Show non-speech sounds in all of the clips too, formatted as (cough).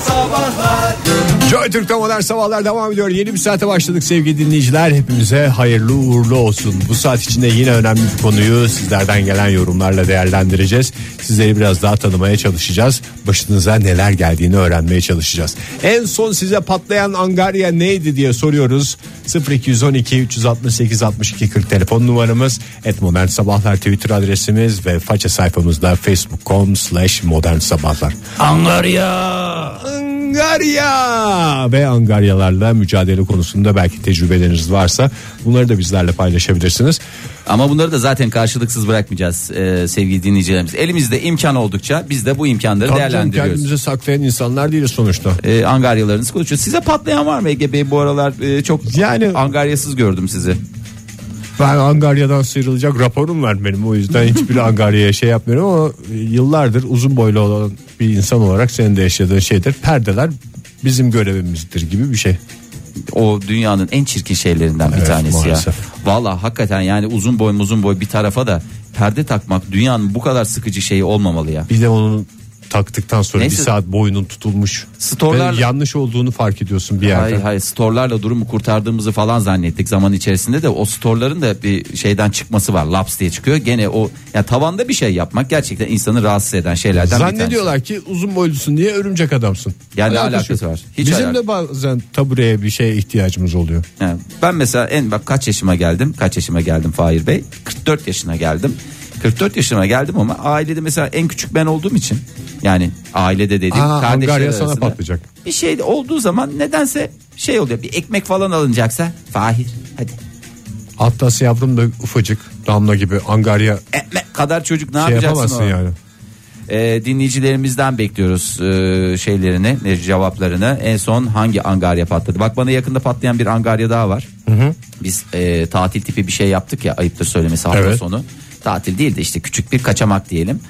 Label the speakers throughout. Speaker 1: Sabahlar
Speaker 2: Joy Türk'te modern sabahlar devam ediyor. Yeni bir saate başladık sevgili dinleyiciler. Hepimize hayırlı uğurlu olsun. Bu saat içinde yine önemli bir konuyu sizlerden gelen yorumlarla değerlendireceğiz. Sizleri biraz daha tanımaya çalışacağız. Başınıza neler geldiğini öğrenmeye çalışacağız. En son size patlayan angarya neydi diye soruyoruz. 0212 368 62 40 telefon numaramız. Et modern sabahlar Twitter adresimiz ve faça sayfamızda facebook.com slash modern sabahlar.
Speaker 3: Angarya.
Speaker 2: Angarya ve Angaryalarla mücadele konusunda belki tecrübeleriniz varsa bunları da bizlerle paylaşabilirsiniz.
Speaker 3: Ama bunları da zaten karşılıksız bırakmayacağız e, sevgili dinleyicilerimiz. Elimizde imkan oldukça biz de bu imkanları
Speaker 2: Tabii canım,
Speaker 3: değerlendiriyoruz.
Speaker 2: kendimizi saklayan insanlar değiliz sonuçta.
Speaker 3: E, angaryalarınızı konuşuyor. Size patlayan var mı Ege Bey bu aralar e, çok
Speaker 2: Yani-
Speaker 3: angaryasız gördüm sizi.
Speaker 2: Ben Angarya'dan sıyrılacak raporum var benim
Speaker 3: (laughs)
Speaker 2: o yüzden hiçbir Angarya'ya şey yapmıyorum ama yıllardır uzun boylu olan bir insan olarak senin de yaşadığın şeydir. Perdeler bizim görevimizdir gibi bir şey.
Speaker 3: O dünyanın en çirkin şeylerinden bir
Speaker 2: Evet,
Speaker 3: tanesi
Speaker 2: maalesef.
Speaker 3: ya. Valla hakikaten yani uzun boy uzun boy bir tarafa da perde takmak dünyanın bu kadar sıkıcı şeyi olmamalı ya.
Speaker 2: Bir de onu taktıktan sonra
Speaker 3: Neyse.
Speaker 2: bir saat boynun tutulmuş.
Speaker 3: Storlar-
Speaker 2: Ve yanlış olduğunu fark ediyorsun bir yerde.
Speaker 3: Hayır hayır storlarla durumu kurtardığımızı falan zannettik zaman içerisinde de o storların da bir şeyden çıkması var laps diye çıkıyor. Gene o ya tavanda bir şey yapmak gerçekten insanı rahatsız eden şeylerden bir tanesi.
Speaker 2: Zannediyorlar ki uzun boylusun diye örümcek adamsın.
Speaker 3: Ya ne
Speaker 2: yok.
Speaker 3: alakası var? Hiç
Speaker 2: Bizim
Speaker 3: alakası-
Speaker 2: de bazen tabureye bir şeye ihtiyacımız oluyor.
Speaker 3: Yani ben mesela en bak kaç yaşıma geldim? Kaç yaşıma geldim Fahir Bey? 44 yaşına geldim. 44 yaşıma geldim ama ailede mesela en küçük ben olduğum için yani ailede dediğim
Speaker 2: Aa,
Speaker 3: kardeşler
Speaker 2: Angarya sana
Speaker 3: arasında
Speaker 2: patlayacak.
Speaker 3: Bir şey olduğu zaman nedense şey oluyor. Bir ekmek falan alınacaksa Fahir hadi
Speaker 2: Atlas yavrum da ufacık damla gibi angarya
Speaker 3: ekmek kadar çocuk ne
Speaker 2: şey
Speaker 3: yapacaksın
Speaker 2: yapamazsın
Speaker 3: o?
Speaker 2: yani.
Speaker 3: Ee, dinleyicilerimizden bekliyoruz e, şeylerini, e, cevaplarını. En son hangi angarya patladı? Bak bana yakında patlayan bir angarya daha var. Biz e, tatil tipi bir şey yaptık ya ayıptır söylemesi hafta
Speaker 2: Evet.
Speaker 3: sonu. Tatil değil de işte küçük bir kaçamak diyelim.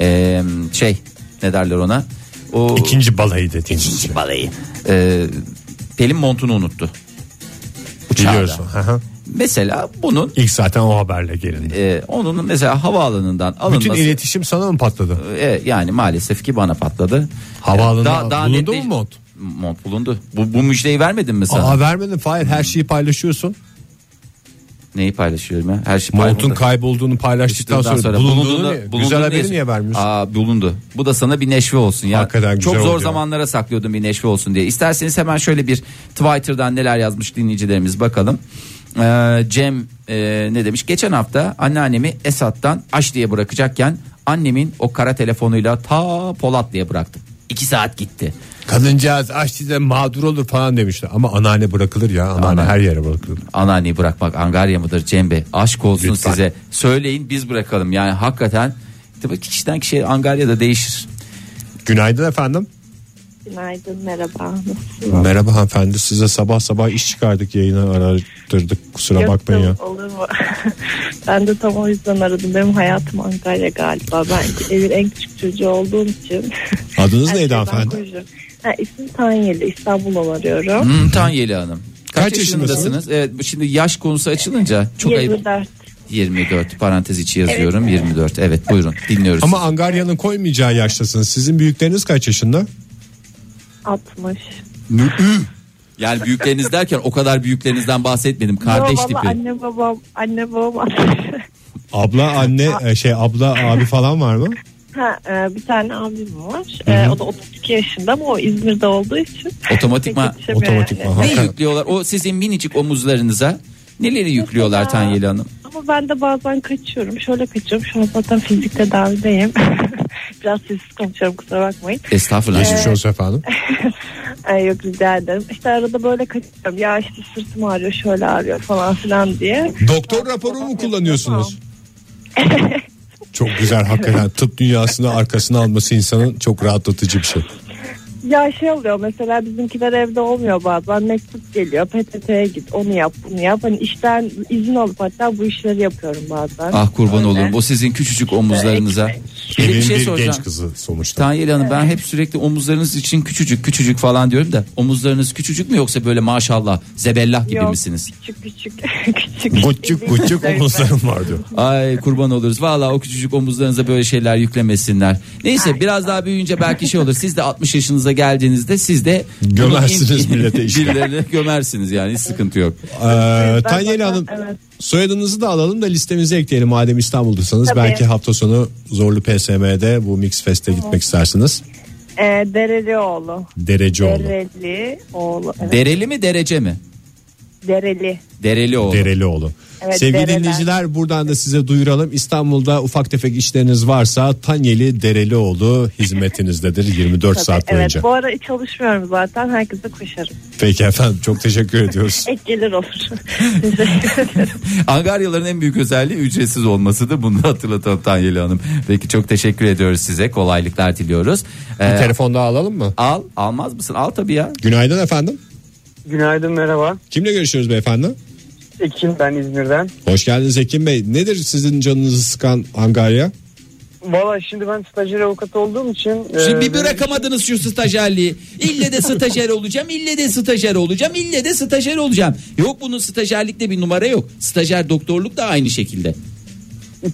Speaker 3: Ee, şey ne derler ona? O
Speaker 2: İkinci balayı dediğin
Speaker 3: İkinci balayı. Ee, Pelin montunu unuttu. Uçağda.
Speaker 2: Biliyorsun. Hı hı.
Speaker 3: Mesela bunun
Speaker 2: İlk zaten o haberle gelindi.
Speaker 3: e, onun mesela havaalanından alınması
Speaker 2: Bütün iletişim sana mı patladı?
Speaker 3: E, yani maalesef ki bana patladı.
Speaker 2: Havaalanına
Speaker 3: Daha- daha
Speaker 2: bulundu
Speaker 3: netleş-
Speaker 2: mu mont?
Speaker 3: Mont bulundu. Bu, bu müjdeyi vermedim mi sana?
Speaker 2: Aa vermedin Fahir her şeyi paylaşıyorsun.
Speaker 3: Neyi paylaşıyorum ya? Her şey
Speaker 2: Montun
Speaker 3: paylaşıldı.
Speaker 2: kaybolduğunu paylaştıktan
Speaker 3: Ondan
Speaker 2: sonra, bulunduğunu,
Speaker 3: bulunduğunda-
Speaker 2: niye-
Speaker 3: bulunduğunda
Speaker 2: güzel haberi
Speaker 3: yazıyor.
Speaker 2: niye vermiyorsun?
Speaker 3: Aa, bulundu. Bu da sana bir neşve olsun ya.
Speaker 2: Hakikaten güzel
Speaker 3: Çok zor
Speaker 2: oluyor.
Speaker 3: zamanlara saklıyordum bir neşve olsun diye. İsterseniz hemen şöyle bir Twitter'dan neler yazmış dinleyicilerimiz bakalım. Ee, Cem e, ne demiş? Geçen hafta anneannemi Esat'tan aç diye bırakacakken annemin o kara telefonuyla ta Polat diye bıraktım. İki saat gitti.
Speaker 2: Kadıncağız aç size mağdur olur falan demişler. Ama anneanne bırakılır ya. Anneanne,
Speaker 3: Anneanne.
Speaker 2: her yere bırakılır.
Speaker 3: anneanneyi bırakmak angarya mıdır Cem Bey? Aşk olsun
Speaker 2: Lütfen.
Speaker 3: size. Söyleyin biz bırakalım. Yani hakikaten tabii kişiden kişiye angarya da değişir.
Speaker 2: Günaydın efendim.
Speaker 4: Günaydın merhaba.
Speaker 2: Merhaba hanımefendi size sabah sabah iş çıkardık yayına arattırdık kusura
Speaker 4: Yok,
Speaker 2: bakmayın ya.
Speaker 4: canım, Olur mu? (laughs) ben de tam o yüzden aradım. Benim hayatım Antalya galiba. Ben evin en küçük çocuğu olduğum
Speaker 2: (laughs)
Speaker 4: için.
Speaker 2: Adınız neydi
Speaker 4: Her şey şeyden
Speaker 2: hanımefendi?
Speaker 4: koyuyorum. Ha, ismim Tanyeli. İstanbul'dan arıyorum.
Speaker 3: Hmm, Tanyeli Hanım. Kaç,
Speaker 2: Kaç
Speaker 3: yaşındasınız?
Speaker 2: yaşındasınız?
Speaker 3: Evet bu şimdi yaş konusu açılınca çok ayıp.
Speaker 4: 24.
Speaker 3: 24 parantez içi yazıyorum 24. Evet buyurun dinliyoruz.
Speaker 2: Ama Angarya'nın koymayacağı yaştasınız. Sizin büyükleriniz kaç yaşında?
Speaker 4: 60.
Speaker 3: yani büyükleriniz derken o kadar büyüklerinizden bahsetmedim. Kardeş
Speaker 4: Yo,
Speaker 3: tipi.
Speaker 4: baba, Anne babam. Anne babam (laughs) 60.
Speaker 2: Abla anne e, şey abla abi falan var
Speaker 4: (laughs)
Speaker 2: mı?
Speaker 4: ha, e, bir tane abim var. E, o da 32 yaşında ama o İzmir'de olduğu için.
Speaker 3: Otomatikman-
Speaker 4: Pek yetişemiyor
Speaker 2: otomatikman.
Speaker 4: yani.
Speaker 3: Ne
Speaker 2: Hakikaten.
Speaker 3: yüklüyorlar? O sizin minicik omuzlarınıza neleri yüklüyorlar Tanyeli Hanım?
Speaker 4: Ama ben de bazen kaçıyorum. Şöyle kaçıyorum. Şu an zaten fizik tedavideyim. (laughs) Biraz sessiz konuşuyorum kusura bakmayın.
Speaker 3: Estağfurullah.
Speaker 4: Ee,
Speaker 2: Geçmiş olsun efendim.
Speaker 4: Ay yok rica ederim. İşte arada böyle kaçıyorum. Ya işte sırtım ağrıyor şöyle ağrıyor falan filan diye.
Speaker 2: Doktor raporu mu kullanıyorsunuz? Çok güzel hakikaten tıp dünyasını arkasına alması insanın çok rahatlatıcı bir şey.
Speaker 4: Ya şey oluyor mesela bizimkiler evde olmuyor bazen. Mektup geliyor PTT'ye git onu yap bunu yap. Hani işten izin alıp hatta bu işleri yapıyorum bazen.
Speaker 3: Ah kurban
Speaker 4: Öyle.
Speaker 3: olurum. O sizin küçücük omuzlarınıza. Bir de bir
Speaker 2: Evin
Speaker 3: şey
Speaker 2: bir
Speaker 3: soracağım.
Speaker 2: genç kızı sonuçta.
Speaker 3: Tanyeli Hanım ben hep sürekli omuzlarınız için küçücük küçücük falan diyorum da omuzlarınız küçücük mü yoksa böyle maşallah zebellah gibi
Speaker 4: Yok.
Speaker 3: misiniz?
Speaker 4: Küçük küçük (laughs) küçük.
Speaker 2: Buçuk buçuk omuzlarım var diyor.
Speaker 3: Ay kurban oluruz. Valla o küçücük omuzlarınıza böyle şeyler yüklemesinler. Neyse biraz daha büyüyünce belki şey olur. Siz de 60 yaşınıza
Speaker 5: başınıza geldiğinizde siz de bunun
Speaker 2: Gömersiniz
Speaker 5: in-
Speaker 2: millete işte.
Speaker 5: Birilerine (laughs) gömersiniz yani hiç sıkıntı yok.
Speaker 2: Ee,
Speaker 4: Ben
Speaker 2: Tanyeli
Speaker 4: zaten-
Speaker 2: Hanım
Speaker 4: evet.
Speaker 2: soyadınızı da alalım da listemize ekleyelim madem İstanbul'dasanız.
Speaker 4: Tabii.
Speaker 2: Belki hafta sonu Zorlu PSM'de bu Mix Fest'e gitmek istersiniz.
Speaker 4: Ee, Derelioğlu.
Speaker 2: Dereceoğlu.
Speaker 4: Dereli oğlu. Evet.
Speaker 5: Dereli mi derece mi?
Speaker 4: Dereli.
Speaker 5: Dereli oğlu.
Speaker 2: Derelioğlu.
Speaker 4: Evet,
Speaker 2: Sevgili
Speaker 4: dereler.
Speaker 2: dinleyiciler buradan da size duyuralım. İstanbul'da ufak tefek işleriniz varsa Tanyeli Derelioğlu hizmetinizdedir 24
Speaker 4: Tabii,
Speaker 2: saat
Speaker 4: evet
Speaker 2: boyunca.
Speaker 4: bu ara çalışmıyorum zaten. Herkese koşarım.
Speaker 2: Peki efendim çok teşekkür ediyoruz.
Speaker 4: Ek gelir olur. (laughs) Teşekkür ederim.
Speaker 5: Angaryaların en büyük özelliği ücretsiz olmasıdır. Bunu da hatırlatalım Tanyeli Hanım. Peki çok teşekkür ediyoruz size. Kolaylıklar diliyoruz. Ee,
Speaker 2: Bir (laughs) telefon daha alalım mı?
Speaker 5: al almaz mısın? Al tabii ya.
Speaker 2: Günaydın efendim.
Speaker 6: Günaydın merhaba.
Speaker 2: Kimle görüşüyoruz beyefendi?
Speaker 6: Ekin ben İzmir'den.
Speaker 2: Hoş geldiniz Ekim Bey. Nedir sizin canınızı sıkan Angarya?
Speaker 6: Valla şimdi ben stajyer avukat olduğum için. e,
Speaker 3: Şimdi bir
Speaker 6: benim-
Speaker 3: bırakamadınız şu stajyerliği. İlle de stajyer olacağım, ille de stajyer olacağım, ille de stajyer olacağım. Yok bunun stajyerlikte bir numara yok. Stajyer doktorluk da aynı şekilde.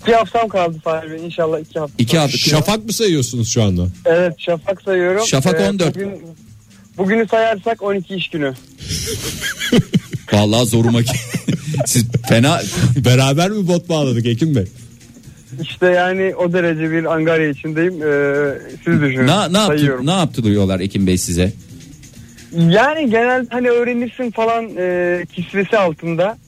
Speaker 6: iki haftam kaldı Fahri Bey inşallah iki hafta.
Speaker 3: İki hafta.
Speaker 2: Şafak mı sayıyorsunuz şu anda?
Speaker 6: Evet Şafak sayıyorum.
Speaker 3: Şafak 14.
Speaker 6: Bugün, bugünü sayarsak 12 iş günü.
Speaker 3: Vallahi zoruma ki. (laughs) Siz fena
Speaker 2: Beraber mi bot bağladık Ekim Bey?
Speaker 6: İşte yani o derece bir angarya içindeyim. E, siz düşünün.
Speaker 3: na, ne yaptı,
Speaker 6: sayıyorum.
Speaker 3: ne yaptırıyorlar Ekim Bey size?
Speaker 6: Yani genel hani öğrenirsin falan e, kisvesi altında.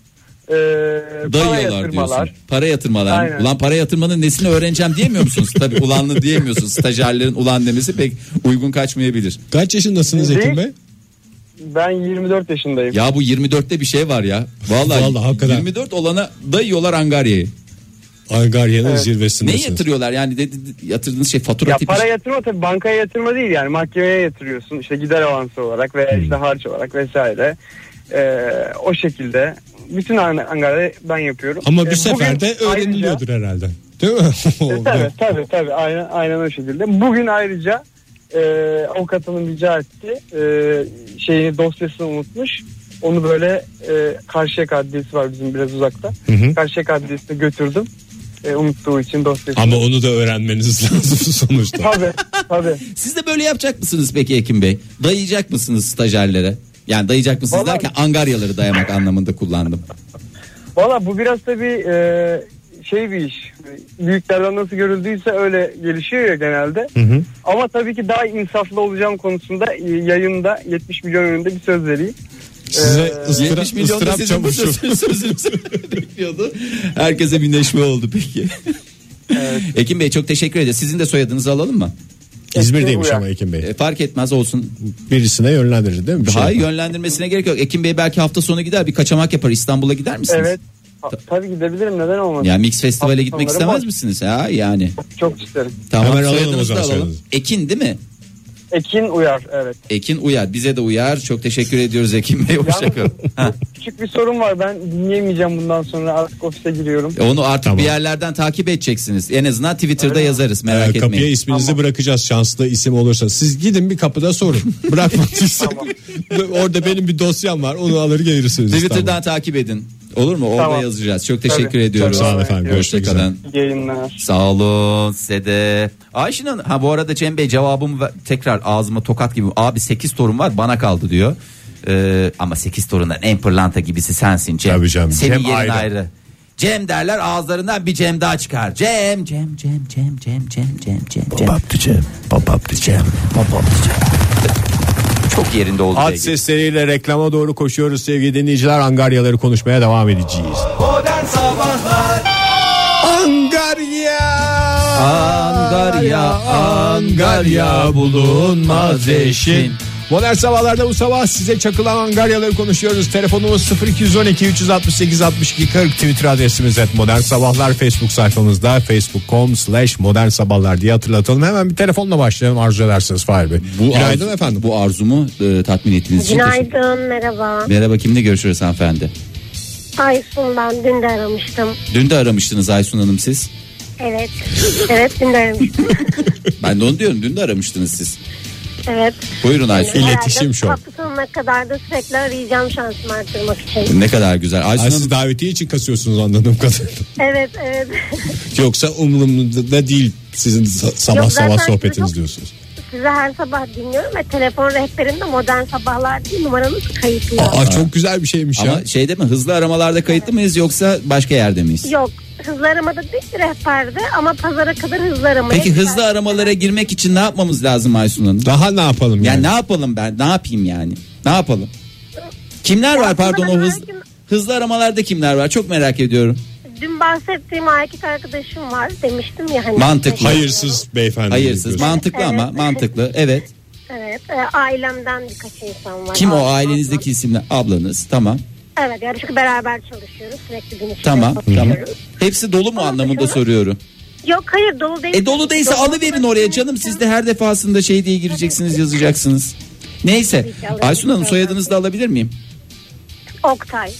Speaker 6: E, para
Speaker 3: Dayıyorlar diyorsun.
Speaker 6: yatırmalar.
Speaker 3: Para yatırmalar.
Speaker 6: Aynen.
Speaker 3: Ulan para yatırmanın nesini öğreneceğim diyemiyor musunuz? Tabii ulanlı diyemiyorsunuz. Stajyerlerin ulan demesi pek uygun kaçmayabilir.
Speaker 2: Kaç yaşındasınız
Speaker 6: Değil.
Speaker 2: Ekim Bey?
Speaker 6: Ben 24 yaşındayım.
Speaker 3: Ya bu 24'te bir şey var ya. Vallahi,
Speaker 2: Vallahi hakikaten.
Speaker 3: 24 olana dayıyorlar Angarya'yı.
Speaker 2: Angarya'nın
Speaker 6: Evet.
Speaker 3: Ne
Speaker 2: zirvesindesiniz.
Speaker 3: yatırıyorlar yani de, de- de- yatırdığınız şey fatura
Speaker 6: Ya
Speaker 3: tipi.
Speaker 6: para yatırma tabii bankaya yatırma değil yani mahkemeye yatırıyorsun işte gider avansı olarak veya
Speaker 2: Hmm.
Speaker 6: işte harç olarak vesaire Ee, o şekilde bütün an- angarya ben yapıyorum.
Speaker 2: Ama
Speaker 6: Ee,
Speaker 2: bir
Speaker 6: bugün
Speaker 2: seferde öğreniliyordur herhalde. Değil mi? (laughs)
Speaker 6: Ayrıca, tabii tabii tabii aynen, aynen o şekilde. Bugün ayrıca e, avukatının rica etti e, şeyini dosyasını unutmuş. Onu böyle e, Karşıyaka Adliyesi var bizim biraz uzakta.
Speaker 2: hı.
Speaker 6: Karşıyaka Adliyesi'ne götürdüm. E, unuttuğu için dosyasını.
Speaker 2: Ama onu da öğrenmeniz (laughs) lazım sonuçta.
Speaker 6: Tabii tabii.
Speaker 3: Siz de böyle yapacak mısınız peki Ekim Bey? Dayayacak mısınız stajyerlere? Yani dayayacak mısınız
Speaker 6: Vallahi-
Speaker 3: derken Angaryaları dayamak anlamında
Speaker 2: (laughs)
Speaker 3: kullandım.
Speaker 6: Valla bu biraz da bir e, şey bir iş. Büyüklerden nasıl görüldüyse öyle gelişiyor ya genelde. Ama tabii ki daha insaflı olacağım konusunda e, yayında 70 milyon önünde bir söz vereyim.
Speaker 2: Size
Speaker 6: Ee,
Speaker 2: ıstıra,
Speaker 3: 70 milyon da
Speaker 2: ıstırap
Speaker 3: sizin bu
Speaker 2: çavuşu.
Speaker 3: sözünüz- (laughs) sözünüzü bekliyordu. Herkese bir neşve oldu peki. Ekim Bey çok teşekkür ederiz. Sizin de soyadınızı alalım mı?
Speaker 2: İzmir'deymiş
Speaker 6: Bu ya.
Speaker 2: ama Ekim Bey.
Speaker 3: E, fark etmez olsun.
Speaker 2: Birisine yönlendirir değil mi? Bir şey
Speaker 3: Hayır
Speaker 2: yapar.
Speaker 3: yönlendirmesine gerek yok. Ekim Bey belki hafta sonu gider bir kaçamak yapar. İstanbul'a gider misiniz?
Speaker 6: Evet. Ha- Tabii gidebilirim neden olmasın.
Speaker 3: Ya Mix Festival'e
Speaker 6: Hafta
Speaker 3: gitmek
Speaker 6: sonları
Speaker 3: istemez
Speaker 6: var.
Speaker 3: misiniz? Ha yani.
Speaker 6: Çok isterim.
Speaker 3: Tamam
Speaker 2: Hemen alalım
Speaker 3: soyadınızı
Speaker 2: o zaman
Speaker 3: da alalım.
Speaker 2: soyadınızı.
Speaker 3: Ekin değil mi?
Speaker 6: Ekin uyar evet.
Speaker 3: Ekin uyar. Bize de uyar. Çok teşekkür ediyoruz Ekin Bey. Hoşçakalın. Ha.
Speaker 6: Küçük bir sorun var ben dinleyemeyeceğim bundan sonra artık ofise giriyorum.
Speaker 3: E Onu artık
Speaker 2: Tamam.
Speaker 3: bir yerlerden takip edeceksiniz. En azından Twitter'da yazarız.
Speaker 2: Ee,
Speaker 3: Merak
Speaker 2: kapıya
Speaker 3: etmeyin.
Speaker 2: isminizi bırakacağız şanslı isim olursa. Siz gidin bir kapıda sorun. (laughs) Bırakmadıysa orada benim bir dosyam var onu alır gelirsiniz.
Speaker 3: Twitter'dan
Speaker 2: İstanbul'a.
Speaker 3: takip edin. Olur mu? Orada
Speaker 6: Tamam.
Speaker 3: yazacağız. Çok teşekkür
Speaker 6: Tabii.
Speaker 3: ediyoruz.
Speaker 6: Tabii.
Speaker 2: Sağ olun efendim görüşmek üzere.
Speaker 3: Hoşçakalın.
Speaker 6: İyi Yayınlar.
Speaker 3: Sağ olun.
Speaker 5: Size de. Ayşin Hanım. Ha bu arada Cem Bey cevabımı ver- tekrar ağzıma tokat gibi. Abi 8 torun var bana kaldı diyor. Ee, ama 8 torundan en pırlanta gibisi sensin Cem.
Speaker 2: Tabii canım,
Speaker 5: Senin
Speaker 2: Cem
Speaker 5: yerin
Speaker 2: ayrı.
Speaker 5: ayrı. Cem derler ağızlarından bir Cem daha çıkar. Cem, Cem, Cem, Cem, Cem, Cem, Cem, Cem, Cem. Çok yerinde oldu.
Speaker 2: At
Speaker 5: sevgili.
Speaker 2: sesleriyle reklama doğru koşuyoruz sevgili dinleyiciler. Angaryaları konuşmaya devam edeceğiz. Angarya!
Speaker 5: Angarya, Angarya bulunmaz eşin.
Speaker 2: Modern sabahlarda bu sabah size çakılan Angaryaları konuşuyoruz. Telefonumuz 0212 368 62 40 Twitter adresimiz et modern sabahlar. Facebook sayfamızda facebook.com slash modern sabahlar diye hatırlatalım. Hemen bir telefonla başlayalım arzu edersiniz Fahir Bey.
Speaker 3: Bu
Speaker 2: Günaydın
Speaker 3: arzu-
Speaker 2: efendim.
Speaker 3: Bu arzumu e, tatmin ettiğiniz için
Speaker 5: şey-
Speaker 3: teşekkür
Speaker 7: Günaydın merhaba.
Speaker 3: Merhaba kimle görüşüyoruz hanımefendi?
Speaker 7: Aysun ben dün de aramıştım.
Speaker 3: Dün de aramıştınız Aysun Hanım siz.
Speaker 7: Evet. Evet dün
Speaker 3: (laughs)
Speaker 7: de aramıştım.
Speaker 3: Ben de onu diyorum dün de aramıştınız siz.
Speaker 7: Evet.
Speaker 3: Buyurun Aysun.
Speaker 2: İletişim şu an.
Speaker 7: Hafta sonuna kadar da sürekli arayacağım şansımı arttırmak için.
Speaker 3: Ne kadar güzel. Aysun
Speaker 2: Ay,
Speaker 3: Hanım
Speaker 2: siz davetiye için kasıyorsunuz anladığım kadarıyla. (laughs)
Speaker 7: Evet evet. (laughs)
Speaker 2: Yoksa umurumda da değil sizin sa- sabah
Speaker 7: Yok, zaten
Speaker 2: sabah
Speaker 7: sizi
Speaker 2: sohbetiniz
Speaker 7: çok-
Speaker 2: diyorsunuz.
Speaker 7: sizi her sabah dinliyorum ve telefon rehberinde modern sabahlar diye numaranız kayıtlı.
Speaker 2: Aa, çok güzel bir şeymiş ya.
Speaker 3: Ama şeyde mi hızlı aramalarda kayıtlı mıyız yoksa başka yerde miyiz?
Speaker 7: Yok hızlı aramada değil ki rehberde ama pazara kadar hızlı aramaya.
Speaker 3: Peki hızlı aramalara girmek için ne yapmamız lazım Aysun Hanım?
Speaker 2: Daha ne yapalım yani?
Speaker 3: Yani ne yapalım ben? Ne yapayım yani? Ne yapalım? Kimler
Speaker 7: Ya
Speaker 3: var
Speaker 7: aslında
Speaker 3: pardon o
Speaker 7: ben
Speaker 3: hız,
Speaker 7: herkes-
Speaker 3: hızlı aramalarda kimler var? Çok merak ediyorum.
Speaker 7: Dün bahsettiğim erkek arkadaşım var demiştim ya. Hani
Speaker 3: Mantıklı.
Speaker 2: Hayırsız beyefendi.
Speaker 3: Hayırsız.
Speaker 2: diyorsun.
Speaker 3: Mantıklı ama
Speaker 7: Evet.
Speaker 3: mantıklı. Evet.
Speaker 7: Evet e, ailemden birkaç insan var.
Speaker 3: Kim o
Speaker 7: Ablam,
Speaker 3: ailenizdeki isimler? Ablanız. Tamam.
Speaker 7: ablam. Evet yani çünkü beraber çalışıyoruz sürekli gün içinde
Speaker 3: Tamam. Tamam.
Speaker 7: çalışıyoruz.
Speaker 3: Hepsi dolu mu anlamında soruyorum.
Speaker 7: Yok hayır dolu değil.
Speaker 3: E dolu değilse alıverin oraya canım. Siz de her defasında şey diye gireceksiniz yazacaksınız. Neyse.
Speaker 7: Tabii ki alırım.
Speaker 3: Aysun Hanım soyadınızı da alabilir miyim?
Speaker 7: Oktay.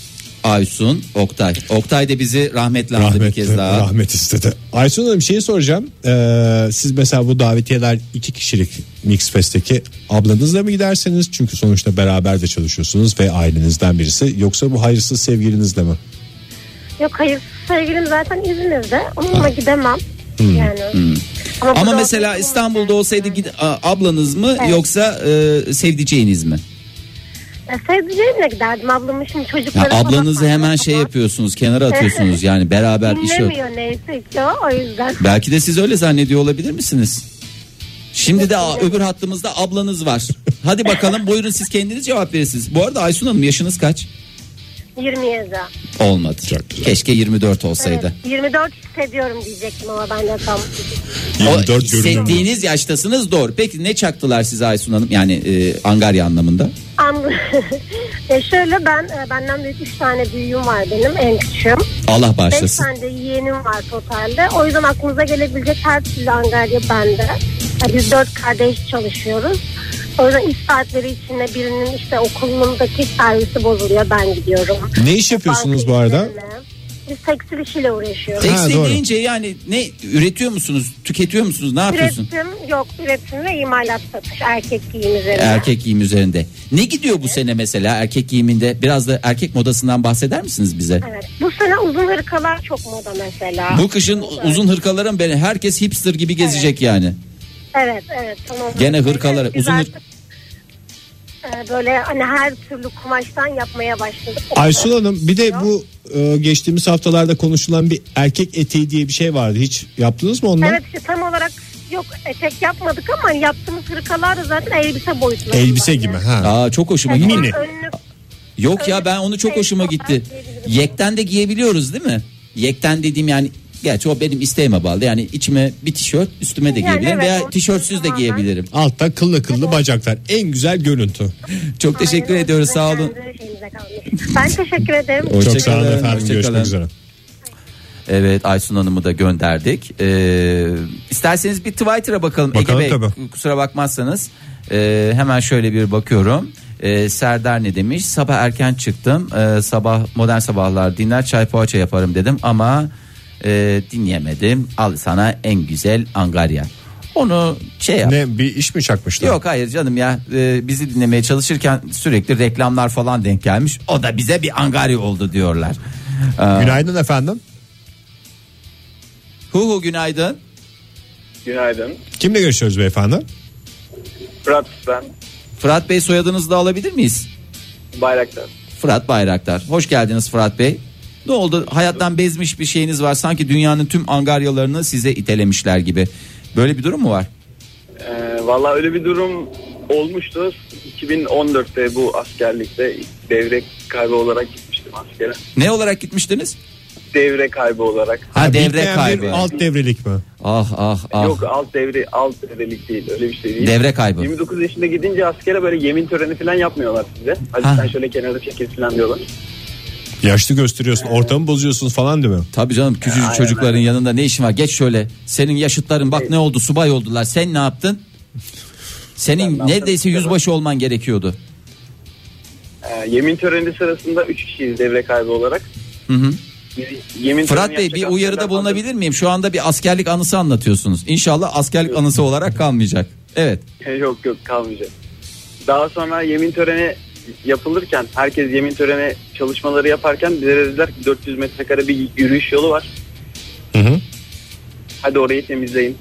Speaker 3: Aysun Oktay. Oktay da bizi rahmetle andı bir
Speaker 2: Rahmet,
Speaker 3: kez daha.
Speaker 2: rahmet istedi. Aysun Hanım şeyi soracağım. Ee, siz mesela bu davetiyeler iki kişilik Mixfest'teki ablanızla mı gidersiniz? Çünkü sonuçta beraber de çalışıyorsunuz ve ailenizden birisi. Yoksa bu hayırsız sevgilinizle mi?
Speaker 7: Yok hayır sevgilim zaten İzmir'de onunla gidemem. Yani. bu
Speaker 3: Ah. Hmm, Ama
Speaker 7: da-
Speaker 3: mesela İstanbul'da olsaydı gid- a- ablanız mı
Speaker 7: Evet.
Speaker 3: yoksa e, sevdiceğiniz mi?
Speaker 7: E, sevdiceğimle giderdim ablamın şimdi
Speaker 3: Ya
Speaker 7: çocukları falan
Speaker 3: ablanızı
Speaker 7: var.
Speaker 3: hemen şey
Speaker 7: Ama
Speaker 3: yapıyorsunuz, kenara atıyorsunuz yani beraber iş yok.
Speaker 7: Dinlemiyor neyse ki o, o yüzden.
Speaker 3: Belki de siz öyle zannediyor olabilir misiniz? Şimdi de a- öbür hattımızda ablanız var. Hadi bakalım buyurun siz kendiniz cevap verirsiniz. Bu arada Aysun Hanım yaşınız kaç?
Speaker 7: 27.
Speaker 3: Olmadı. Keşke 24
Speaker 7: Evet,
Speaker 3: olsaydı.
Speaker 7: 24 hissediyorum diyecektim ama ben de tam.
Speaker 3: O
Speaker 2: 24 görünüyor.
Speaker 3: hissettiğiniz yaştasınız doğru. Peki ne çaktılar size Aysun Hanım? Yani e, Angarya anlamında.
Speaker 7: An- (laughs) e şöyle ben e, benden büyük 3 tane büyüğüm var benim en küçüğüm.
Speaker 3: Allah
Speaker 7: 5
Speaker 3: bağışlasın.
Speaker 7: tane de yeğenim var totalde. O yüzden aklınıza gelebilecek her türlü angarya bende. E, Biz 4 kardeş çalışıyoruz. O yüzden iş saatleri içinde birinin işte okulundaki servisi bozuluyor ben gidiyorum.
Speaker 2: Ne iş yapıyorsunuz bu arada?
Speaker 7: Banka işlerine. Biz tekstil işiyle uğraşıyoruz.
Speaker 3: Tekstil
Speaker 2: doğru.
Speaker 3: deyince yani ne üretiyor musunuz? Tüketiyor musunuz? Ne yapıyorsun?
Speaker 7: Üretim yok üretim ve imalat satış erkek giyim üzerine.
Speaker 3: Erkek giyim üzerinde. Ne gidiyor bu sene mesela erkek giyiminde? Biraz da erkek modasından bahseder misiniz bize?
Speaker 7: Evet. Bu sene uzun hırkalar çok moda mesela.
Speaker 3: Bu kışın uzun hırkaların beni herkes hipster gibi gezecek yani.
Speaker 7: Evet evet tamam.
Speaker 3: Gene hırkaları,
Speaker 7: Biz
Speaker 3: uzun hır-
Speaker 7: artık, e, Böyle hani her türlü kumaştan yapmaya başladık.
Speaker 2: Aysun Hanım bir de bu e, geçtiğimiz haftalarda konuşulan bir erkek eteği diye bir şey vardı. Hiç yaptınız mı ondan?
Speaker 7: Evet işte tam olarak yok etek yapmadık ama hani yaptığımız hırkalar da zaten elbise boyutunda.
Speaker 2: Elbise
Speaker 7: Yani.
Speaker 2: gibi ha.
Speaker 3: Aa çok hoşuma
Speaker 7: Evet,
Speaker 3: gitti.
Speaker 2: Mini.
Speaker 7: önlük-
Speaker 3: Yok ya ben onu çok hoşuma gitti. Yekten de giyebiliyoruz değil mi? Yekten dediğim yani gerçi o benim isteğime bağlı. Yani içime bir tişört, üstüme de
Speaker 7: Yani
Speaker 3: giyebilirim
Speaker 7: evet,
Speaker 3: veya
Speaker 7: o-
Speaker 3: tişörtsüz de
Speaker 7: tamamen.
Speaker 3: giyebilirim.
Speaker 2: Altta kıllı kıllı bacaklar. En güzel görüntü.
Speaker 3: Çok teşekkür
Speaker 7: Aynen,
Speaker 3: ediyoruz. Sağ olun.
Speaker 7: kendi şeyimize kalmış. Ben teşekkür ederim.
Speaker 3: Hoşça
Speaker 2: Çok sağ olun
Speaker 3: kalın,
Speaker 2: efendim.
Speaker 3: hoşça
Speaker 2: Görüşmek
Speaker 3: kalın.
Speaker 2: üzere.
Speaker 5: Evet Aysun Hanım'ı da gönderdik. Ee, isterseniz bir Twitter'a bakalım.
Speaker 2: Bakalım
Speaker 5: Ege Bey,
Speaker 2: tabii.
Speaker 5: kusura bakmazsanız. Ee, hemen şöyle bir bakıyorum. Ee, Serdar ne demiş? Sabah erken çıktım. Ee, sabah modern sabahlar dinler çay poğaça yaparım dedim ama e, dinleyemedim. Al sana en güzel Angarya. Onu şey yap.
Speaker 2: Ne bir iş mi çakmışlar?
Speaker 5: Yok hayır canım ya Ee, bizi dinlemeye çalışırken sürekli reklamlar falan denk gelmiş. O da bize bir Angarya oldu diyorlar. Ee,
Speaker 2: Günaydın efendim.
Speaker 5: hu hu günaydın.
Speaker 8: Günaydın.
Speaker 2: Kimle görüşüyoruz beyefendi?
Speaker 8: Fırat ben.
Speaker 5: Fırat Bey soyadınızı da alabilir miyiz?
Speaker 8: Bayraktar.
Speaker 5: Fırat Bayraktar. Hoş geldiniz Fırat Bey. Ne oldu? Hayattan bezmiş bir şeyiniz var. Sanki dünyanın tüm angaryalarını size itelemişler gibi. Böyle bir durum mu var?
Speaker 8: Ee, Valla öyle bir durum olmuştu. 2014'te bu askerlikte devre kaybı olarak gitmiştim askere.
Speaker 5: Ne olarak gitmiştiniz?
Speaker 8: Devre kaybı olarak.
Speaker 5: Ha, devre
Speaker 2: bitmeyen bir
Speaker 5: kaybı.
Speaker 2: Alt devrelik mi?
Speaker 5: Ah ah ah.
Speaker 8: Yok alt devre alt devrelik değil öyle bir şey değil.
Speaker 5: Devre kaybı.
Speaker 8: 29 yaşında gidince askere böyle yemin töreni falan yapmıyorlar size. Hadi
Speaker 5: Ha.
Speaker 8: sen şöyle kenarda çekil falan diyorlar.
Speaker 2: Yaşlı gösteriyorsun, ortamı bozuyorsun falan değil mi?
Speaker 5: Tabii canım küçücük
Speaker 8: Aynen,
Speaker 5: çocukların yanında ne işin var? Geç şöyle. Senin yaşıtların bak ne oldu? Subay oldular. Sen ne yaptın? Senin
Speaker 8: yaptım?
Speaker 5: neredeyse yüzbaşı olman gerekiyordu.
Speaker 8: Ee, yemin töreni sırasında 3 kişiyiz devre kaybı olarak.
Speaker 5: Hı hı.
Speaker 8: Biz yemin
Speaker 5: Fırat
Speaker 8: töreni
Speaker 5: Bey bir
Speaker 8: yapacak
Speaker 5: uyarıda
Speaker 8: askerler
Speaker 5: bulunabilir miyim? Şu anda bir askerlik anısı anlatıyorsunuz. İnşallah askerlik anısı olarak kalmayacak. Evet.
Speaker 8: yok yok kalmayacak. Daha sonra yemin töreni yapılırken herkes yemin töreni çalışmaları yaparken bize dediler ki 400 metrekare bir yürüyüş yolu var.
Speaker 2: Hı hı.
Speaker 8: Hadi orayı temizleyin.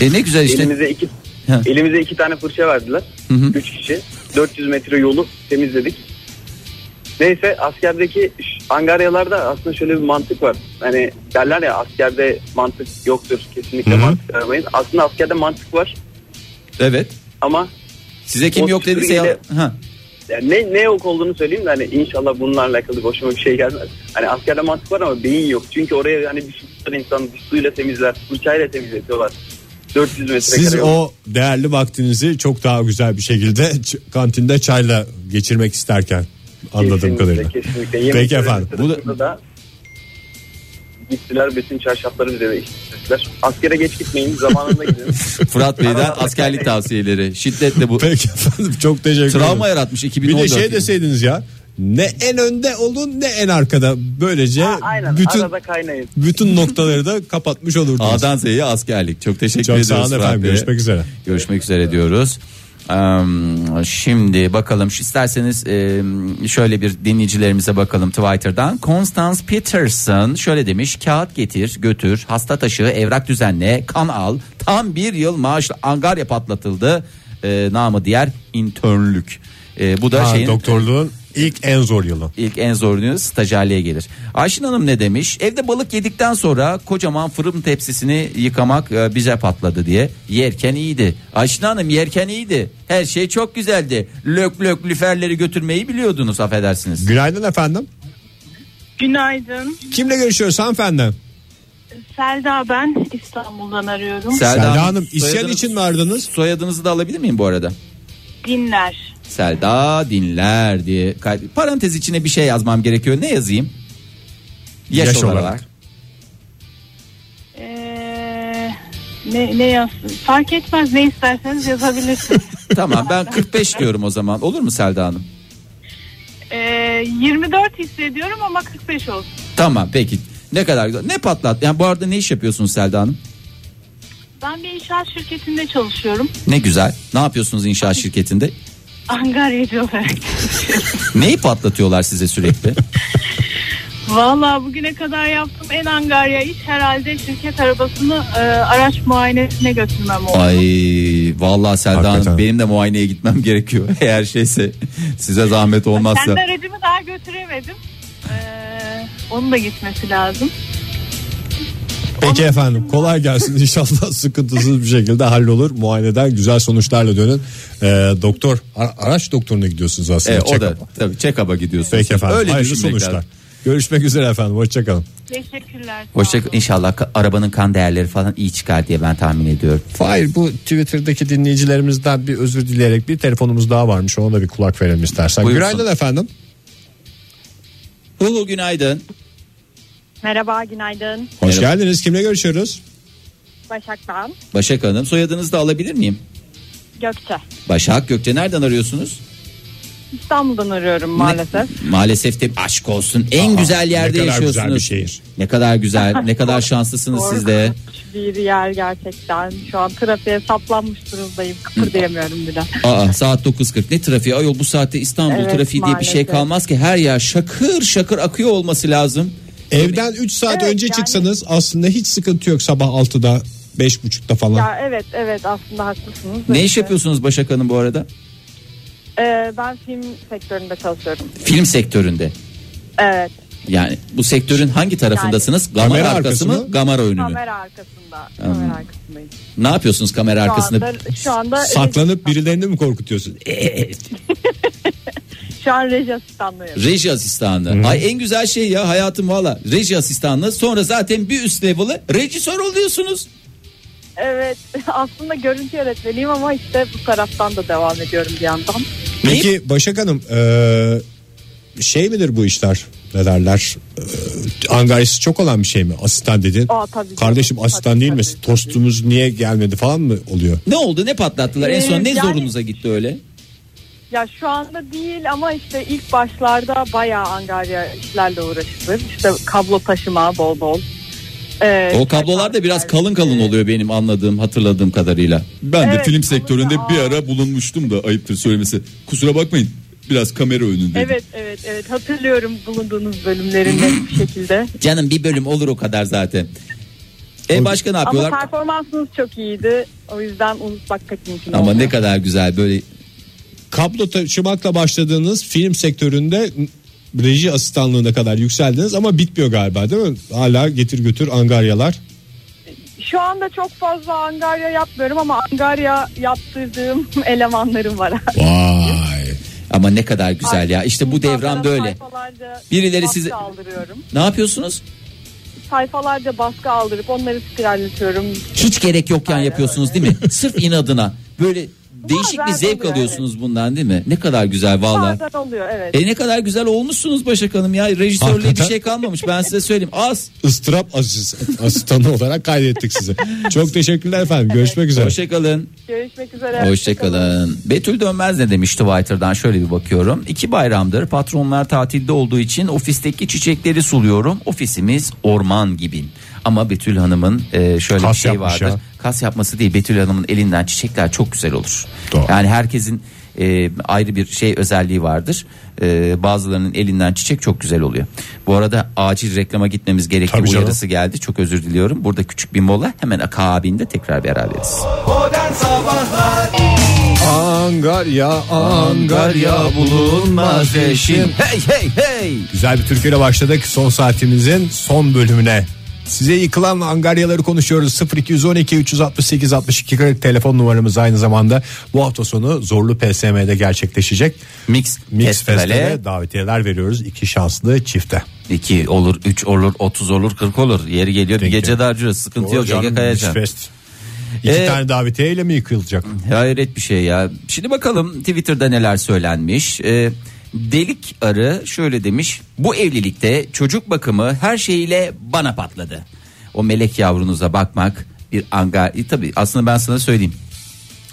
Speaker 5: E ne güzel işte.
Speaker 8: Elimize iki
Speaker 9: Hı.
Speaker 8: Elimize iki tane fırça verdiler.
Speaker 3: Hı hı.
Speaker 8: Üç kişi. 400 metre yolu temizledik. Neyse askerdeki ş- angaryalarda aslında şöyle bir mantık var. Hani derler ya askerde mantık yoktur. Kesinlikle
Speaker 2: Hı hı.
Speaker 8: mantık aramayın. Aslında askerde mantık var
Speaker 3: Evet.
Speaker 8: ama
Speaker 3: Size kim
Speaker 8: O
Speaker 3: yok dediyse
Speaker 8: süpürgeyle-
Speaker 3: yalan- Ha.
Speaker 8: yani ne, ne yok olduğunu söyleyeyim de hani inşallah bununla alakalı başıma bir şey gelmez. Hani askerde mantık var ama beyin yok. Çünkü oraya hani bir su tutar insan bir suyla temizler, fırçayla temizletiyorlar. 400 metre
Speaker 2: Siz
Speaker 8: kare.
Speaker 2: o değerli vaktinizi çok daha güzel bir şekilde (laughs) ç- kantinde çayla geçirmek isterken anladığım
Speaker 8: Kesinlikle,
Speaker 2: kadarıyla.
Speaker 8: Kesinlikle. Yemek
Speaker 2: Peki
Speaker 8: yemesi
Speaker 2: efendim. Bu da-
Speaker 8: sırasında da gittiler bütün çarşafları bize değiştirdiler. Askere geç gitmeyin zamanında gidin.
Speaker 2: (laughs)
Speaker 3: Fırat Bey'den
Speaker 8: Arada-
Speaker 3: askerlik tavsiyeleri. Şiddetle bu
Speaker 2: Peki efendim çok teşekkür ederim.
Speaker 3: travma yaratmış
Speaker 2: Bir
Speaker 3: 2014.
Speaker 2: de şey
Speaker 3: yılı.
Speaker 2: deseydiniz ya ne en önde olun ne en arkada. Böylece
Speaker 8: Ha, aynen
Speaker 2: bütün
Speaker 8: arada kaynayın.
Speaker 2: bütün noktaları da kapatmış olurdunuz.
Speaker 3: A'dan Z'ye askerlik. Çok teşekkür
Speaker 2: Çok
Speaker 3: ediyoruz
Speaker 2: sağ olun
Speaker 3: Fırat
Speaker 2: efendim.
Speaker 3: Bey.
Speaker 2: Görüşmek üzere.
Speaker 3: Görüşmek üzere diyoruz. Eee, Şimdi bakalım şu- isterseniz eee, şöyle bir dinleyicilerimize bakalım Twitter'dan. Constance Peterson şöyle demiş kağıt getir götür hasta taşı evrak düzenle kan al tam bir yıl maaşla angarya patlatıldı Eee, namı diğer internlük. Eee, bu da
Speaker 2: Ha,
Speaker 3: şeyin
Speaker 2: doktorluğun ilk en zor yılı.
Speaker 3: İlk en zorluğu stajyerliğe gelir. Ayşin Hanım ne demiş? Evde balık yedikten sonra kocaman fırın tepsisini yıkamak e, bize patladı diye. Yerken iyiydi. Ayşin Hanım yerken iyiydi. Her şey çok güzeldi. Lök lök lüferleri götürmeyi biliyordunuz affedersiniz.
Speaker 2: Günaydın efendim.
Speaker 10: Günaydın.
Speaker 2: Kimle görüşüyoruz hanımefendi?
Speaker 10: Selda ben İstanbul'dan arıyorum.
Speaker 2: Selda,
Speaker 3: Hanım,
Speaker 2: Hanım isyan
Speaker 3: soyadınız-
Speaker 2: için mi aradınız?
Speaker 3: Soyadınızı da alabilir miyim bu arada?
Speaker 10: Dinler.
Speaker 3: Selda dinler diye. kay- Parantez içine bir şey yazmam gerekiyor. Ne yazayım? Yaş,
Speaker 2: Yaş
Speaker 3: olarak.
Speaker 2: olarak.
Speaker 10: Ee, ne, ne yazsın? Fark etmez ne isterseniz yazabilirsiniz.
Speaker 3: (laughs) Tamam ben 45 diyorum o zaman. Olur mu Selda Hanım?
Speaker 10: Ee, 24 hissediyorum ama 45 olsun.
Speaker 3: Tamam peki. Ne kadar güzel. Ne patlat? Yani bu arada ne iş yapıyorsunuz Selda Hanım?
Speaker 10: Ben bir inşaat şirketinde çalışıyorum.
Speaker 3: Ne güzel. Ne yapıyorsunuz inşaat şirketinde?
Speaker 10: Angaryacı olarak.
Speaker 3: Neyi patlatıyorlar size sürekli?
Speaker 10: Valla bugüne kadar yaptığım en angarya iş herhalde şirket arabasını e, araç muayenesine götürmem
Speaker 3: (laughs)
Speaker 10: oldu.
Speaker 3: Ay vallahi Selda Hanım
Speaker 2: Hakikaten.
Speaker 3: benim de muayeneye gitmem gerekiyor. (laughs) Eğer şeyse size zahmet olmazsa.
Speaker 10: Kendi aracımı daha götüremedim. Ee, onun da gitmesi lazım.
Speaker 2: Peki efendim kolay gelsin (laughs) inşallah sıkıntısız bir şekilde hallolur. Muayeneden güzel sonuçlarla dönün. Ee, doktor ara- araç doktoruna gidiyorsunuz aslında.
Speaker 3: E, o da
Speaker 2: check-up'a.
Speaker 3: tabii check-up'a gidiyorsunuz.
Speaker 2: Peki efendim
Speaker 3: Öyle
Speaker 2: hayırlı
Speaker 3: düşünmek
Speaker 2: sonuçlar.
Speaker 3: lazım.
Speaker 2: Görüşmek üzere efendim hoşçakalın.
Speaker 10: Teşekkürler. sağ
Speaker 3: Hoşça
Speaker 10: olun.
Speaker 3: inşallah ka- arabanın kan değerleri falan iyi çıkar diye ben tahmin ediyorum.
Speaker 2: Hayır bu Twitter'daki dinleyicilerimizden bir özür dileyerek bir telefonumuz daha varmış ona da bir kulak verelim istersen.
Speaker 3: Buyursun.
Speaker 2: Günaydın efendim.
Speaker 3: Hulu günaydın.
Speaker 4: Merhaba, günaydın.
Speaker 2: Hoş
Speaker 3: Merhaba.
Speaker 2: geldiniz kimle görüşüyoruz?
Speaker 4: Başak ben.
Speaker 3: Başak Hanım soyadınızı da alabilir miyim?
Speaker 4: Gökçe.
Speaker 3: Başak Gökçe nereden arıyorsunuz?
Speaker 4: İstanbul'dan arıyorum maalesef.
Speaker 3: Maalesef de aşk olsun. En
Speaker 2: Aa,
Speaker 3: güzel yerde
Speaker 2: ne kadar
Speaker 3: yaşıyorsunuz.
Speaker 2: güzel bir şehir.
Speaker 3: Ne kadar güzel, ne kadar şanslısınız siz de.
Speaker 4: Korkunç Bir yer gerçekten. Şu an trafiğe saplanmış durumdayım.
Speaker 3: (laughs)
Speaker 4: Kıpırdayamıyorum bile.
Speaker 3: Aa saat 9.40 ne trafiği ayol bu saatte İstanbul
Speaker 4: Evet,
Speaker 3: trafiği diye bir şey
Speaker 4: maalesef.
Speaker 3: kalmaz ki her yer şakır şakır akıyor olması lazım.
Speaker 2: Evden 3 saat
Speaker 4: Evet,
Speaker 2: önce
Speaker 4: yani-
Speaker 2: çıksanız aslında hiç sıkıntı yok sabah 6'da 5.30'da falan.
Speaker 4: Ya evet evet aslında haklısınız.
Speaker 3: Ne iş
Speaker 4: Evet.
Speaker 3: yapıyorsunuz Başak Hanım bu arada?
Speaker 4: Ee, ben film sektöründe çalışıyorum. Ee,
Speaker 3: Film sektöründe.
Speaker 4: Evet.
Speaker 3: Yani bu sektörün hangi tarafındasınız? Kamera
Speaker 2: Kamera
Speaker 3: arkası,
Speaker 2: arkası
Speaker 3: mı,
Speaker 2: mı?
Speaker 3: kamera önü mü?
Speaker 4: Kamera arkasında. Kamera arkasındayım.
Speaker 3: Ne yapıyorsunuz kamera
Speaker 4: Şu
Speaker 3: arkasında? E,
Speaker 4: anda, şu anda
Speaker 2: Saklanıp birilerini mi korkutuyorsun?
Speaker 4: şu an reji asistanlıyım.
Speaker 3: Reji asistanlığı. Ay en güzel şey ya hayatım valla. Reji asistanlığı. Sonra zaten bir üst level'ı rejisör oluyorsunuz.
Speaker 4: Evet (laughs) aslında görüntü yönetmeliyim ama işte bu taraftan da devam ediyorum bir yandan.
Speaker 2: Peki Başak Hanım eee, şey midir bu işler? Ne derler? Eee, angaryası çok olan bir şey mi? Asistan dedin.
Speaker 4: Aa, tabii canım.
Speaker 2: Kardeşim asistan
Speaker 4: Tabii,
Speaker 2: değil
Speaker 4: tabii.
Speaker 2: misin? Tostumuz niye gelmedi falan mı oluyor?
Speaker 3: Ne oldu ne patlattılar en son
Speaker 4: Ee,
Speaker 3: ne
Speaker 4: yani-
Speaker 3: zorunuza gitti öyle?
Speaker 4: Ya şu anda değil ama işte ilk başlarda bayağı angarya işlerle uğraşılır. İşte kablo taşıma bol bol.
Speaker 10: E,
Speaker 4: Ee,
Speaker 3: O kablolar da biraz kalın kalın oluyor benim anladığım hatırladığım kadarıyla.
Speaker 11: Ben de
Speaker 4: Evet,
Speaker 11: film
Speaker 4: ama
Speaker 11: sektöründe
Speaker 4: daha-
Speaker 11: bir ara bulunmuştum da ayıptır söylemesi. Kusura bakmayın. Biraz kamera önündeydim.
Speaker 4: Evet evet evet hatırlıyorum bulunduğunuz bölümlerinde bir şekilde.
Speaker 3: Canım bir bölüm olur o kadar zaten. E başka ne
Speaker 12: Ama
Speaker 3: yapıyorlar?
Speaker 12: performansınız çok iyiydi. O yüzden unutmak kaçıncı.
Speaker 3: Ama ne kadar güzel böyle
Speaker 2: Kablo taşımakla başladığınız film sektöründe reji asistanlığına kadar yükseldiniz ama bitmiyor galiba değil mi? Hala getir götür angaryalar.
Speaker 12: Şu anda çok fazla angarya yapmıyorum ama angarya yaptırdığım (laughs) elemanlarım var.
Speaker 3: Vay. Ama ne kadar güzel ya. İşte bu devran
Speaker 12: Sayfalara
Speaker 3: böyle.
Speaker 12: sayfalarca
Speaker 3: Birileri
Speaker 12: baskı
Speaker 3: size-
Speaker 12: aldırıyorum.
Speaker 3: Ne yapıyorsunuz?
Speaker 12: Sayfalarca baskı aldırıp onları spiralletiyorum.
Speaker 3: Hiç gerek yokken yapıyorsunuz değil mi? Sırf inadına. Böyle değişik bir
Speaker 12: Bazen
Speaker 3: zevk
Speaker 12: oluyor,
Speaker 3: alıyorsunuz bundan değil mi? Ne kadar güzel valla.
Speaker 12: Bazen oluyor evet.
Speaker 3: E ne kadar güzel olmuşsunuz Başak Hanım ya. Rejisörlüğe bir
Speaker 2: Hakikaten.
Speaker 3: şey kalmamış. Ben size söyleyeyim. Az.
Speaker 2: Istırap asist- asistanı (laughs) olarak kaydettik sizi. Çok teşekkürler efendim. Görüşmek üzere.
Speaker 3: Hoşçakalın.
Speaker 12: Görüşmek üzere.
Speaker 3: Hoşçakalın. Betül Dönmez ne demiş Twitter'dan şöyle bir bakıyorum. İki bayramdır patronlar tatilde olduğu için ofisteki çiçekleri suluyorum. Ofisimiz orman gibi. Ama Betül Hanım'ın e, şöyle
Speaker 2: Kas
Speaker 3: bir şey
Speaker 2: yapmış
Speaker 3: vardır.
Speaker 2: ya.
Speaker 3: Kas yapması değil Betül Hanım'ın elinden çiçekler çok güzel olur.
Speaker 2: Doğru.
Speaker 3: Yani herkesin e, ayrı bir şey özelliği vardır. E, bazılarının elinden çiçek çok güzel oluyor. Bu arada acil reklama gitmemiz gerektiği
Speaker 2: Tabii canım.
Speaker 3: uyarısı geldi. Çok özür diliyorum. Burada küçük bir mola hemen akabinde tekrar beraberiz.
Speaker 2: Angarya, Angarya bulunmaz eşim.
Speaker 3: Hey hey hey.
Speaker 2: Güzel bir türküyle başladık son saatimizin son bölümüne. Size yıkılan angaryaları konuşuyoruz. 0212 368 62 40 telefon numaramız aynı zamanda bu hafta sonu Zorlu PSM'de gerçekleşecek.
Speaker 3: Mix,
Speaker 2: Mix
Speaker 3: Festivale
Speaker 2: Fest'e davetiyeler veriyoruz iki şanslı çifte.
Speaker 3: 2 olur, 3 olur, 30 olur, 40 olur. Yeri geliyor bir
Speaker 2: Peki.
Speaker 3: gece darcıyoruz. Sıkıntı yok.
Speaker 2: Doğru
Speaker 3: Ege
Speaker 2: canım,
Speaker 3: Kayacan.
Speaker 2: Mix Fest. İki
Speaker 3: Ee,
Speaker 2: tane davetiyeyle mi yıkılacak?
Speaker 3: Hayret bir şey ya. Şimdi bakalım Twitter'da neler söylenmiş. Ee, delik arı şöyle demiş. Bu evlilikte çocuk bakımı her şeyiyle bana patladı. O melek yavrunuza bakmak bir angar... E, tabii aslında ben sana söyleyeyim.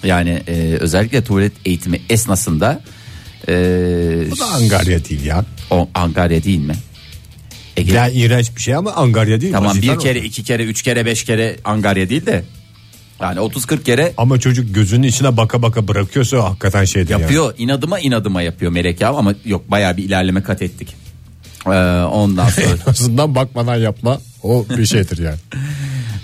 Speaker 3: Yani e, özellikle tuvalet eğitimi esnasında... E,
Speaker 2: Bu da angarya değil ya.
Speaker 3: o angarya değil mi? Ege,
Speaker 2: Yani iğrenç bir şey ama angarya değil.
Speaker 3: Tamam
Speaker 2: vazifen
Speaker 3: bir kere,
Speaker 2: o.
Speaker 3: iki kere, üç kere, beş kere Angarya değil de yani 30-40 kere
Speaker 2: Ama çocuk gözünün içine baka baka bırakıyorsa o hakikaten şey değil. yani.
Speaker 3: yapıyor. inadıma inadıma yapıyor Melek ya ama yok bayağı bir ilerleme kat ettik. Ee, ondan sonra
Speaker 2: (laughs) En azından bakmadan yapma o bir şeydir yani.
Speaker 3: (laughs)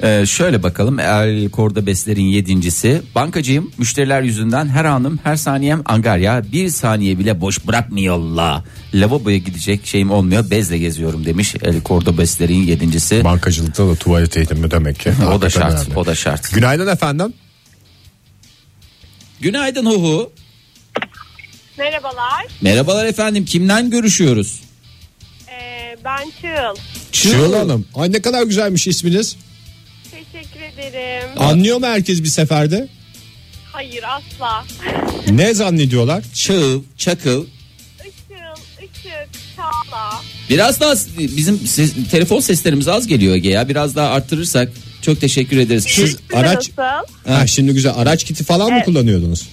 Speaker 3: Ee, şöyle bakalım El Cordobes'lerin yedincisi bankacıyım müşteriler yüzünden her anım her saniyem angarya bir saniye bile boş bırakmıyorlar lavaboya gidecek şeyim olmuyor bezle geziyorum demiş El Cordobes'lerin yedincisi
Speaker 2: Bankacılıkta da tuvalet eğitimi demek ki.
Speaker 3: o da
Speaker 2: Hakikaten
Speaker 3: şart
Speaker 2: önemli.
Speaker 3: o da şart
Speaker 2: Günaydın efendim.
Speaker 3: günaydın Huhu
Speaker 10: Merhabalar.
Speaker 3: merhabalar efendim kimden görüşüyoruz
Speaker 10: Ee, ben Çığıl.
Speaker 2: Şuan Hanım. Ay ne kadar güzelmiş isminiz.
Speaker 10: Teşekkür ederim.
Speaker 2: Anlıyor mu herkes bir seferde?
Speaker 10: Hayır asla.
Speaker 2: Ne zannediyorlar?
Speaker 3: Çığıl, çakıl.
Speaker 10: Işıl, Işık, Çağla.
Speaker 3: Biraz daha s- bizim ses- telefon seslerimiz az geliyor Ege ya. Biraz daha arttırırsak çok teşekkür ederiz.
Speaker 2: Siz araç
Speaker 10: Nasıl?
Speaker 2: ha, şimdi güzel araç kiti falan mı kullanıyordunuz?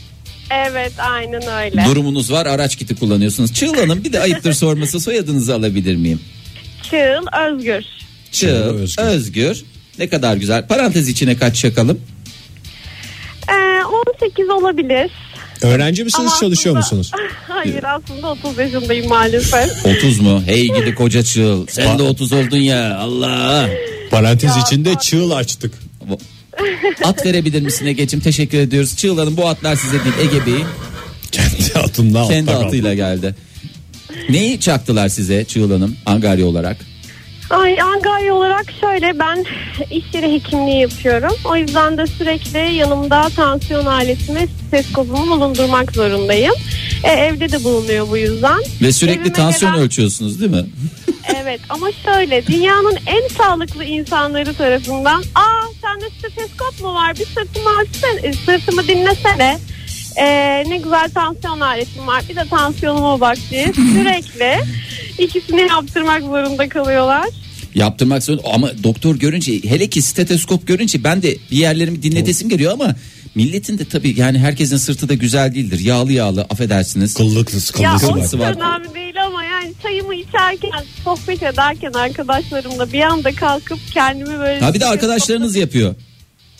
Speaker 10: Evet aynen öyle.
Speaker 3: durumunuz var araç kiti kullanıyorsunuz. Çığıl Hanım bir de ayıptır sorması soyadınızı alabilir miyim?
Speaker 10: Çığıl, Özgür.
Speaker 3: Çığıl, Özgür.
Speaker 2: Çığıl, Özgür.
Speaker 3: Ne kadar güzel. Parantez içine kaç çakalım?
Speaker 10: Ee, 18 olabilir.
Speaker 2: Öğrenci misiniz
Speaker 10: Ama
Speaker 2: çalışıyor
Speaker 10: aslında-
Speaker 2: (laughs) musunuz?
Speaker 10: Hayır aslında 30 yaşındayım maalesef.
Speaker 3: 30 mu? Hey gidi koca Çığıl. Sen de 30 oldun ya. Allah.
Speaker 2: Parantez içinde çığıl açtık. (laughs)
Speaker 3: At verebilir misin Ege'cim? Teşekkür ediyoruz. Çığıl Hanım bu atlar size değil Ege Bey'in.
Speaker 2: Kendi atımla
Speaker 3: Kendi atıyla geldi. Neyi çaktılar size Çığıl Hanım Angarya olarak?
Speaker 10: Ay Angarya olarak şöyle ben iş yeri hekimliği yapıyorum. O yüzden de sürekli yanımda tansiyon aletimi teleskopumu bulundurmak zorundayım. E, evde de bulunuyor bu yüzden.
Speaker 3: Ve sürekli
Speaker 10: Evime
Speaker 3: tansiyon
Speaker 10: gelen-
Speaker 3: ölçüyorsunuz değil mi?
Speaker 10: Evet ama şöyle dünyanın en sağlıklı insanları tarafından aa sende stetoskop mu var bir sırtımı açsana, sırtımı dinlesene. Ee, ne güzel tansiyon aletim var bir de tansiyonuma bak diye sürekli ikisini yaptırmak zorunda kalıyorlar.
Speaker 3: Yaptırmak zorunda ama doktor görünce hele ki stetoskop görünce ben de bir yerlerimi dinletesim geliyor ama milletin de tabii yani herkesin sırtı da güzel değildir. Yağlı yağlı affedersiniz.
Speaker 2: Kıllıklı
Speaker 10: Ya o
Speaker 3: Kafası
Speaker 10: hiç
Speaker 3: var.
Speaker 10: önemli değil ama yani çayımı içerken sohbet ederken arkadaşlarımla bir anda kalkıp kendimi böyle...
Speaker 3: Ha bir de arkadaşlarınız yapıyor.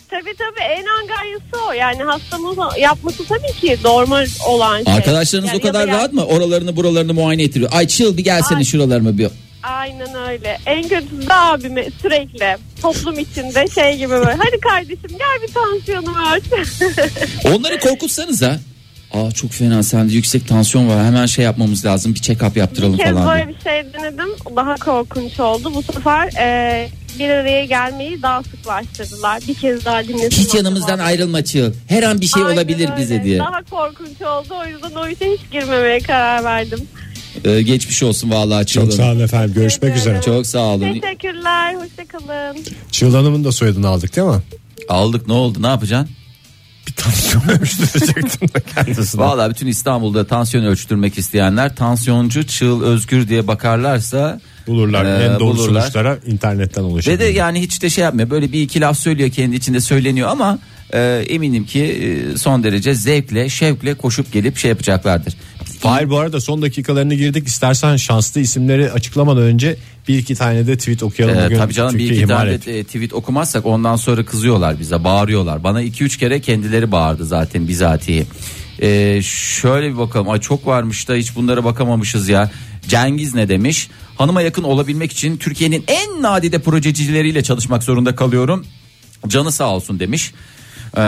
Speaker 10: Tabii tabii en angaryası o yani hastamız yapması tabii ki normal olan şey.
Speaker 3: Arkadaşlarınız
Speaker 10: Yani
Speaker 3: o kadar
Speaker 10: ya da yani-
Speaker 3: rahat mı? Oralarını buralarını muayene ettiriyor. Ay çıl bir gelsene
Speaker 10: Ay.
Speaker 3: şuralarımı bir.
Speaker 10: Aynen öyle en kötüsü de abime sürekli. toplum içinde şey gibi böyle. Hadi kardeşim gel bir tansiyonu ölç.
Speaker 3: Onları korkutsanız ha. Aa çok fena sende yüksek tansiyon var. Hemen şey yapmamız lazım. Bir check-up yaptıralım
Speaker 10: bir kez
Speaker 3: falan.
Speaker 10: böyle
Speaker 3: diye.
Speaker 10: bir şey denedim. Daha korkunç oldu. Bu sefer e, bir araya gelmeyi daha sıklaştırdılar. Bir kez daha dinledim.
Speaker 3: Hiç yanımızdan
Speaker 10: acaba.
Speaker 3: ayrılma çığ. Her an bir şey
Speaker 10: Aynen
Speaker 3: olabilir
Speaker 10: öyle.
Speaker 3: bize diye.
Speaker 10: Daha korkunç oldu. O yüzden o işe hiç girmemeye karar verdim.
Speaker 3: Ee, geçmiş olsun vallahi çığlığın.
Speaker 2: Çok sağ olun efendim. Görüşmek
Speaker 10: Teşekkür
Speaker 2: üzere.
Speaker 10: ederim.
Speaker 3: Çok sağ olun.
Speaker 10: Teşekkürler. Hoşçakalın.
Speaker 2: Çığıl Hanım'ın da soyadını aldık değil mi?
Speaker 3: Aldık ne oldu ne yapacaksın?
Speaker 2: Bir (laughs) tansiyon ölçtürecektim de kendisine.
Speaker 3: Vallahi bütün İstanbul'da tansiyon ölçtürmek isteyenler tansiyoncu Çığıl Özgür diye bakarlarsa
Speaker 2: Bulurlar.
Speaker 3: Ee,
Speaker 2: en doğru
Speaker 3: bulurlar.
Speaker 2: sonuçlara internetten
Speaker 3: Ve
Speaker 2: ulaşabilir.
Speaker 3: de yani hiç de şey yapmıyor. Böyle bir iki laf söylüyor kendi içinde söyleniyor ama e, eminim ki e, son derece zevkle, şevkle koşup gelip şey yapacaklardır.
Speaker 2: Fahir bu arada son dakikalarını girdik. İstersen şanslı isimleri açıklamadan önce bir iki tane de tweet okuyalım.
Speaker 3: E,
Speaker 2: Bugün
Speaker 3: tabii canım bir
Speaker 2: Türkiye
Speaker 3: iki
Speaker 2: ihmal
Speaker 3: tane
Speaker 2: etti.
Speaker 3: de, e, tweet okumazsak ondan sonra kızıyorlar bize, bağırıyorlar. Bana iki üç kere kendileri bağırdı zaten bizatihi. E, şöyle bir bakalım. Ay çok varmış da hiç bunlara bakamamışız ya. Cengiz ne demiş? Hanıma yakın olabilmek için Türkiye'nin en nadide projecileriyle çalışmak zorunda kalıyorum. Canı sağ olsun demiş. Ee,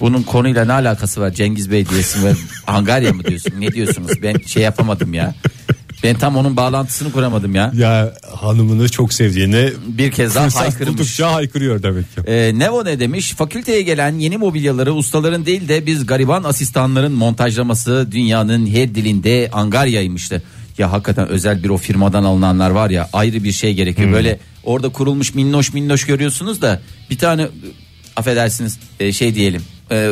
Speaker 3: bunun konuyla ne alakası var Cengiz Bey diyesin ve Angarya mı diyorsun? Ne diyorsunuz? Ben şey yapamadım ya. Ben tam onun bağlantısını kuramadım ya.
Speaker 2: Ya hanımını çok sevdiğini
Speaker 3: Bir kez daha
Speaker 2: (laughs) fırsat
Speaker 3: haykırmış.
Speaker 2: buldukça haykırıyor demek ki.
Speaker 3: Ee, Nevo ne demiş? Fakülteye gelen yeni mobilyaları ustaların değil de biz gariban asistanların montajlaması dünyanın her dilinde Angarya'ymıştı. Ya hakikaten özel bir o firmadan alınanlar var ya ayrı bir şey gerekiyor. Böyle orada kurulmuş minnoş minnoş görüyorsunuz da bir tane affedersiniz e, şey diyelim e,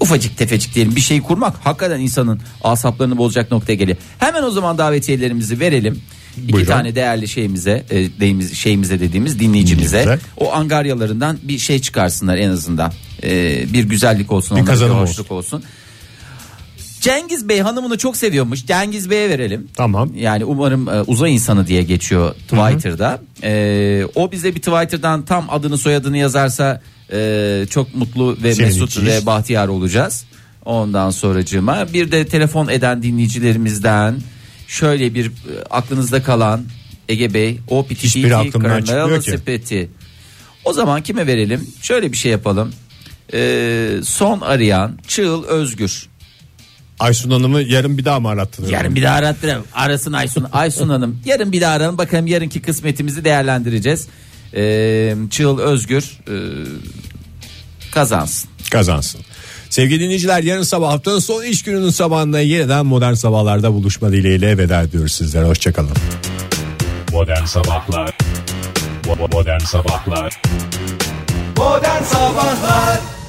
Speaker 3: ufacık tefecik diyelim bir şey kurmak hakikaten insanın asaplarını bozacak noktaya geliyor. Hemen o zaman davetiyelerimizi verelim. İki
Speaker 2: Buyurun.
Speaker 3: tane değerli şeyimize, e, deyimiz- şeyimize dediğimiz dinleyicimize
Speaker 2: Dinleyicimize.
Speaker 3: o angaryalarından bir şey çıkarsınlar en azından. Ee, bir güzellik olsun,
Speaker 2: Bir
Speaker 3: onlara
Speaker 2: kazanım
Speaker 3: bir hoşluk olsun. Cengiz Bey hanımını çok seviyormuş. Cengiz Bey'e verelim.
Speaker 2: Tamam.
Speaker 3: Yani umarım e, uzay insanı diye geçiyor Twitter'da. Ee, o bize bir Twitter'dan tam adını soyadını yazarsa e, çok mutlu ve
Speaker 2: Sevineceğiz.
Speaker 3: mesut ve bahtiyar olacağız. Ondan sonracığıma bir de telefon eden dinleyicilerimizden şöyle bir e, aklınızda kalan Ege Bey o
Speaker 2: Hiçbiri
Speaker 3: PTT
Speaker 2: aklımdan
Speaker 3: karnayalı
Speaker 2: çıkmıyor ki.
Speaker 3: sepeti. O zaman kime verelim? Şöyle bir şey yapalım. Ee, son arayan Çığıl Özgür.
Speaker 2: Aysun Hanım'ı yarın bir daha mı arattınız?
Speaker 3: Yarın bir daha arattıralım. Arasın Aysun. Aysun Hanım. Yarın bir daha arayalım. Bakalım yarınki kısmetimizi değerlendireceğiz. Ee, Çığıl Özgür e, kazansın.
Speaker 2: kazansın. Sevgili dinleyiciler yarın sabah haftanın son iş gününün sabahında yeniden modern sabahlarda buluşma dileğiyle veda ediyoruz sizlere. Hoşçakalın.
Speaker 13: Modern Sabahlar Bo- bo- Modern Sabahlar
Speaker 14: Modern Sabahlar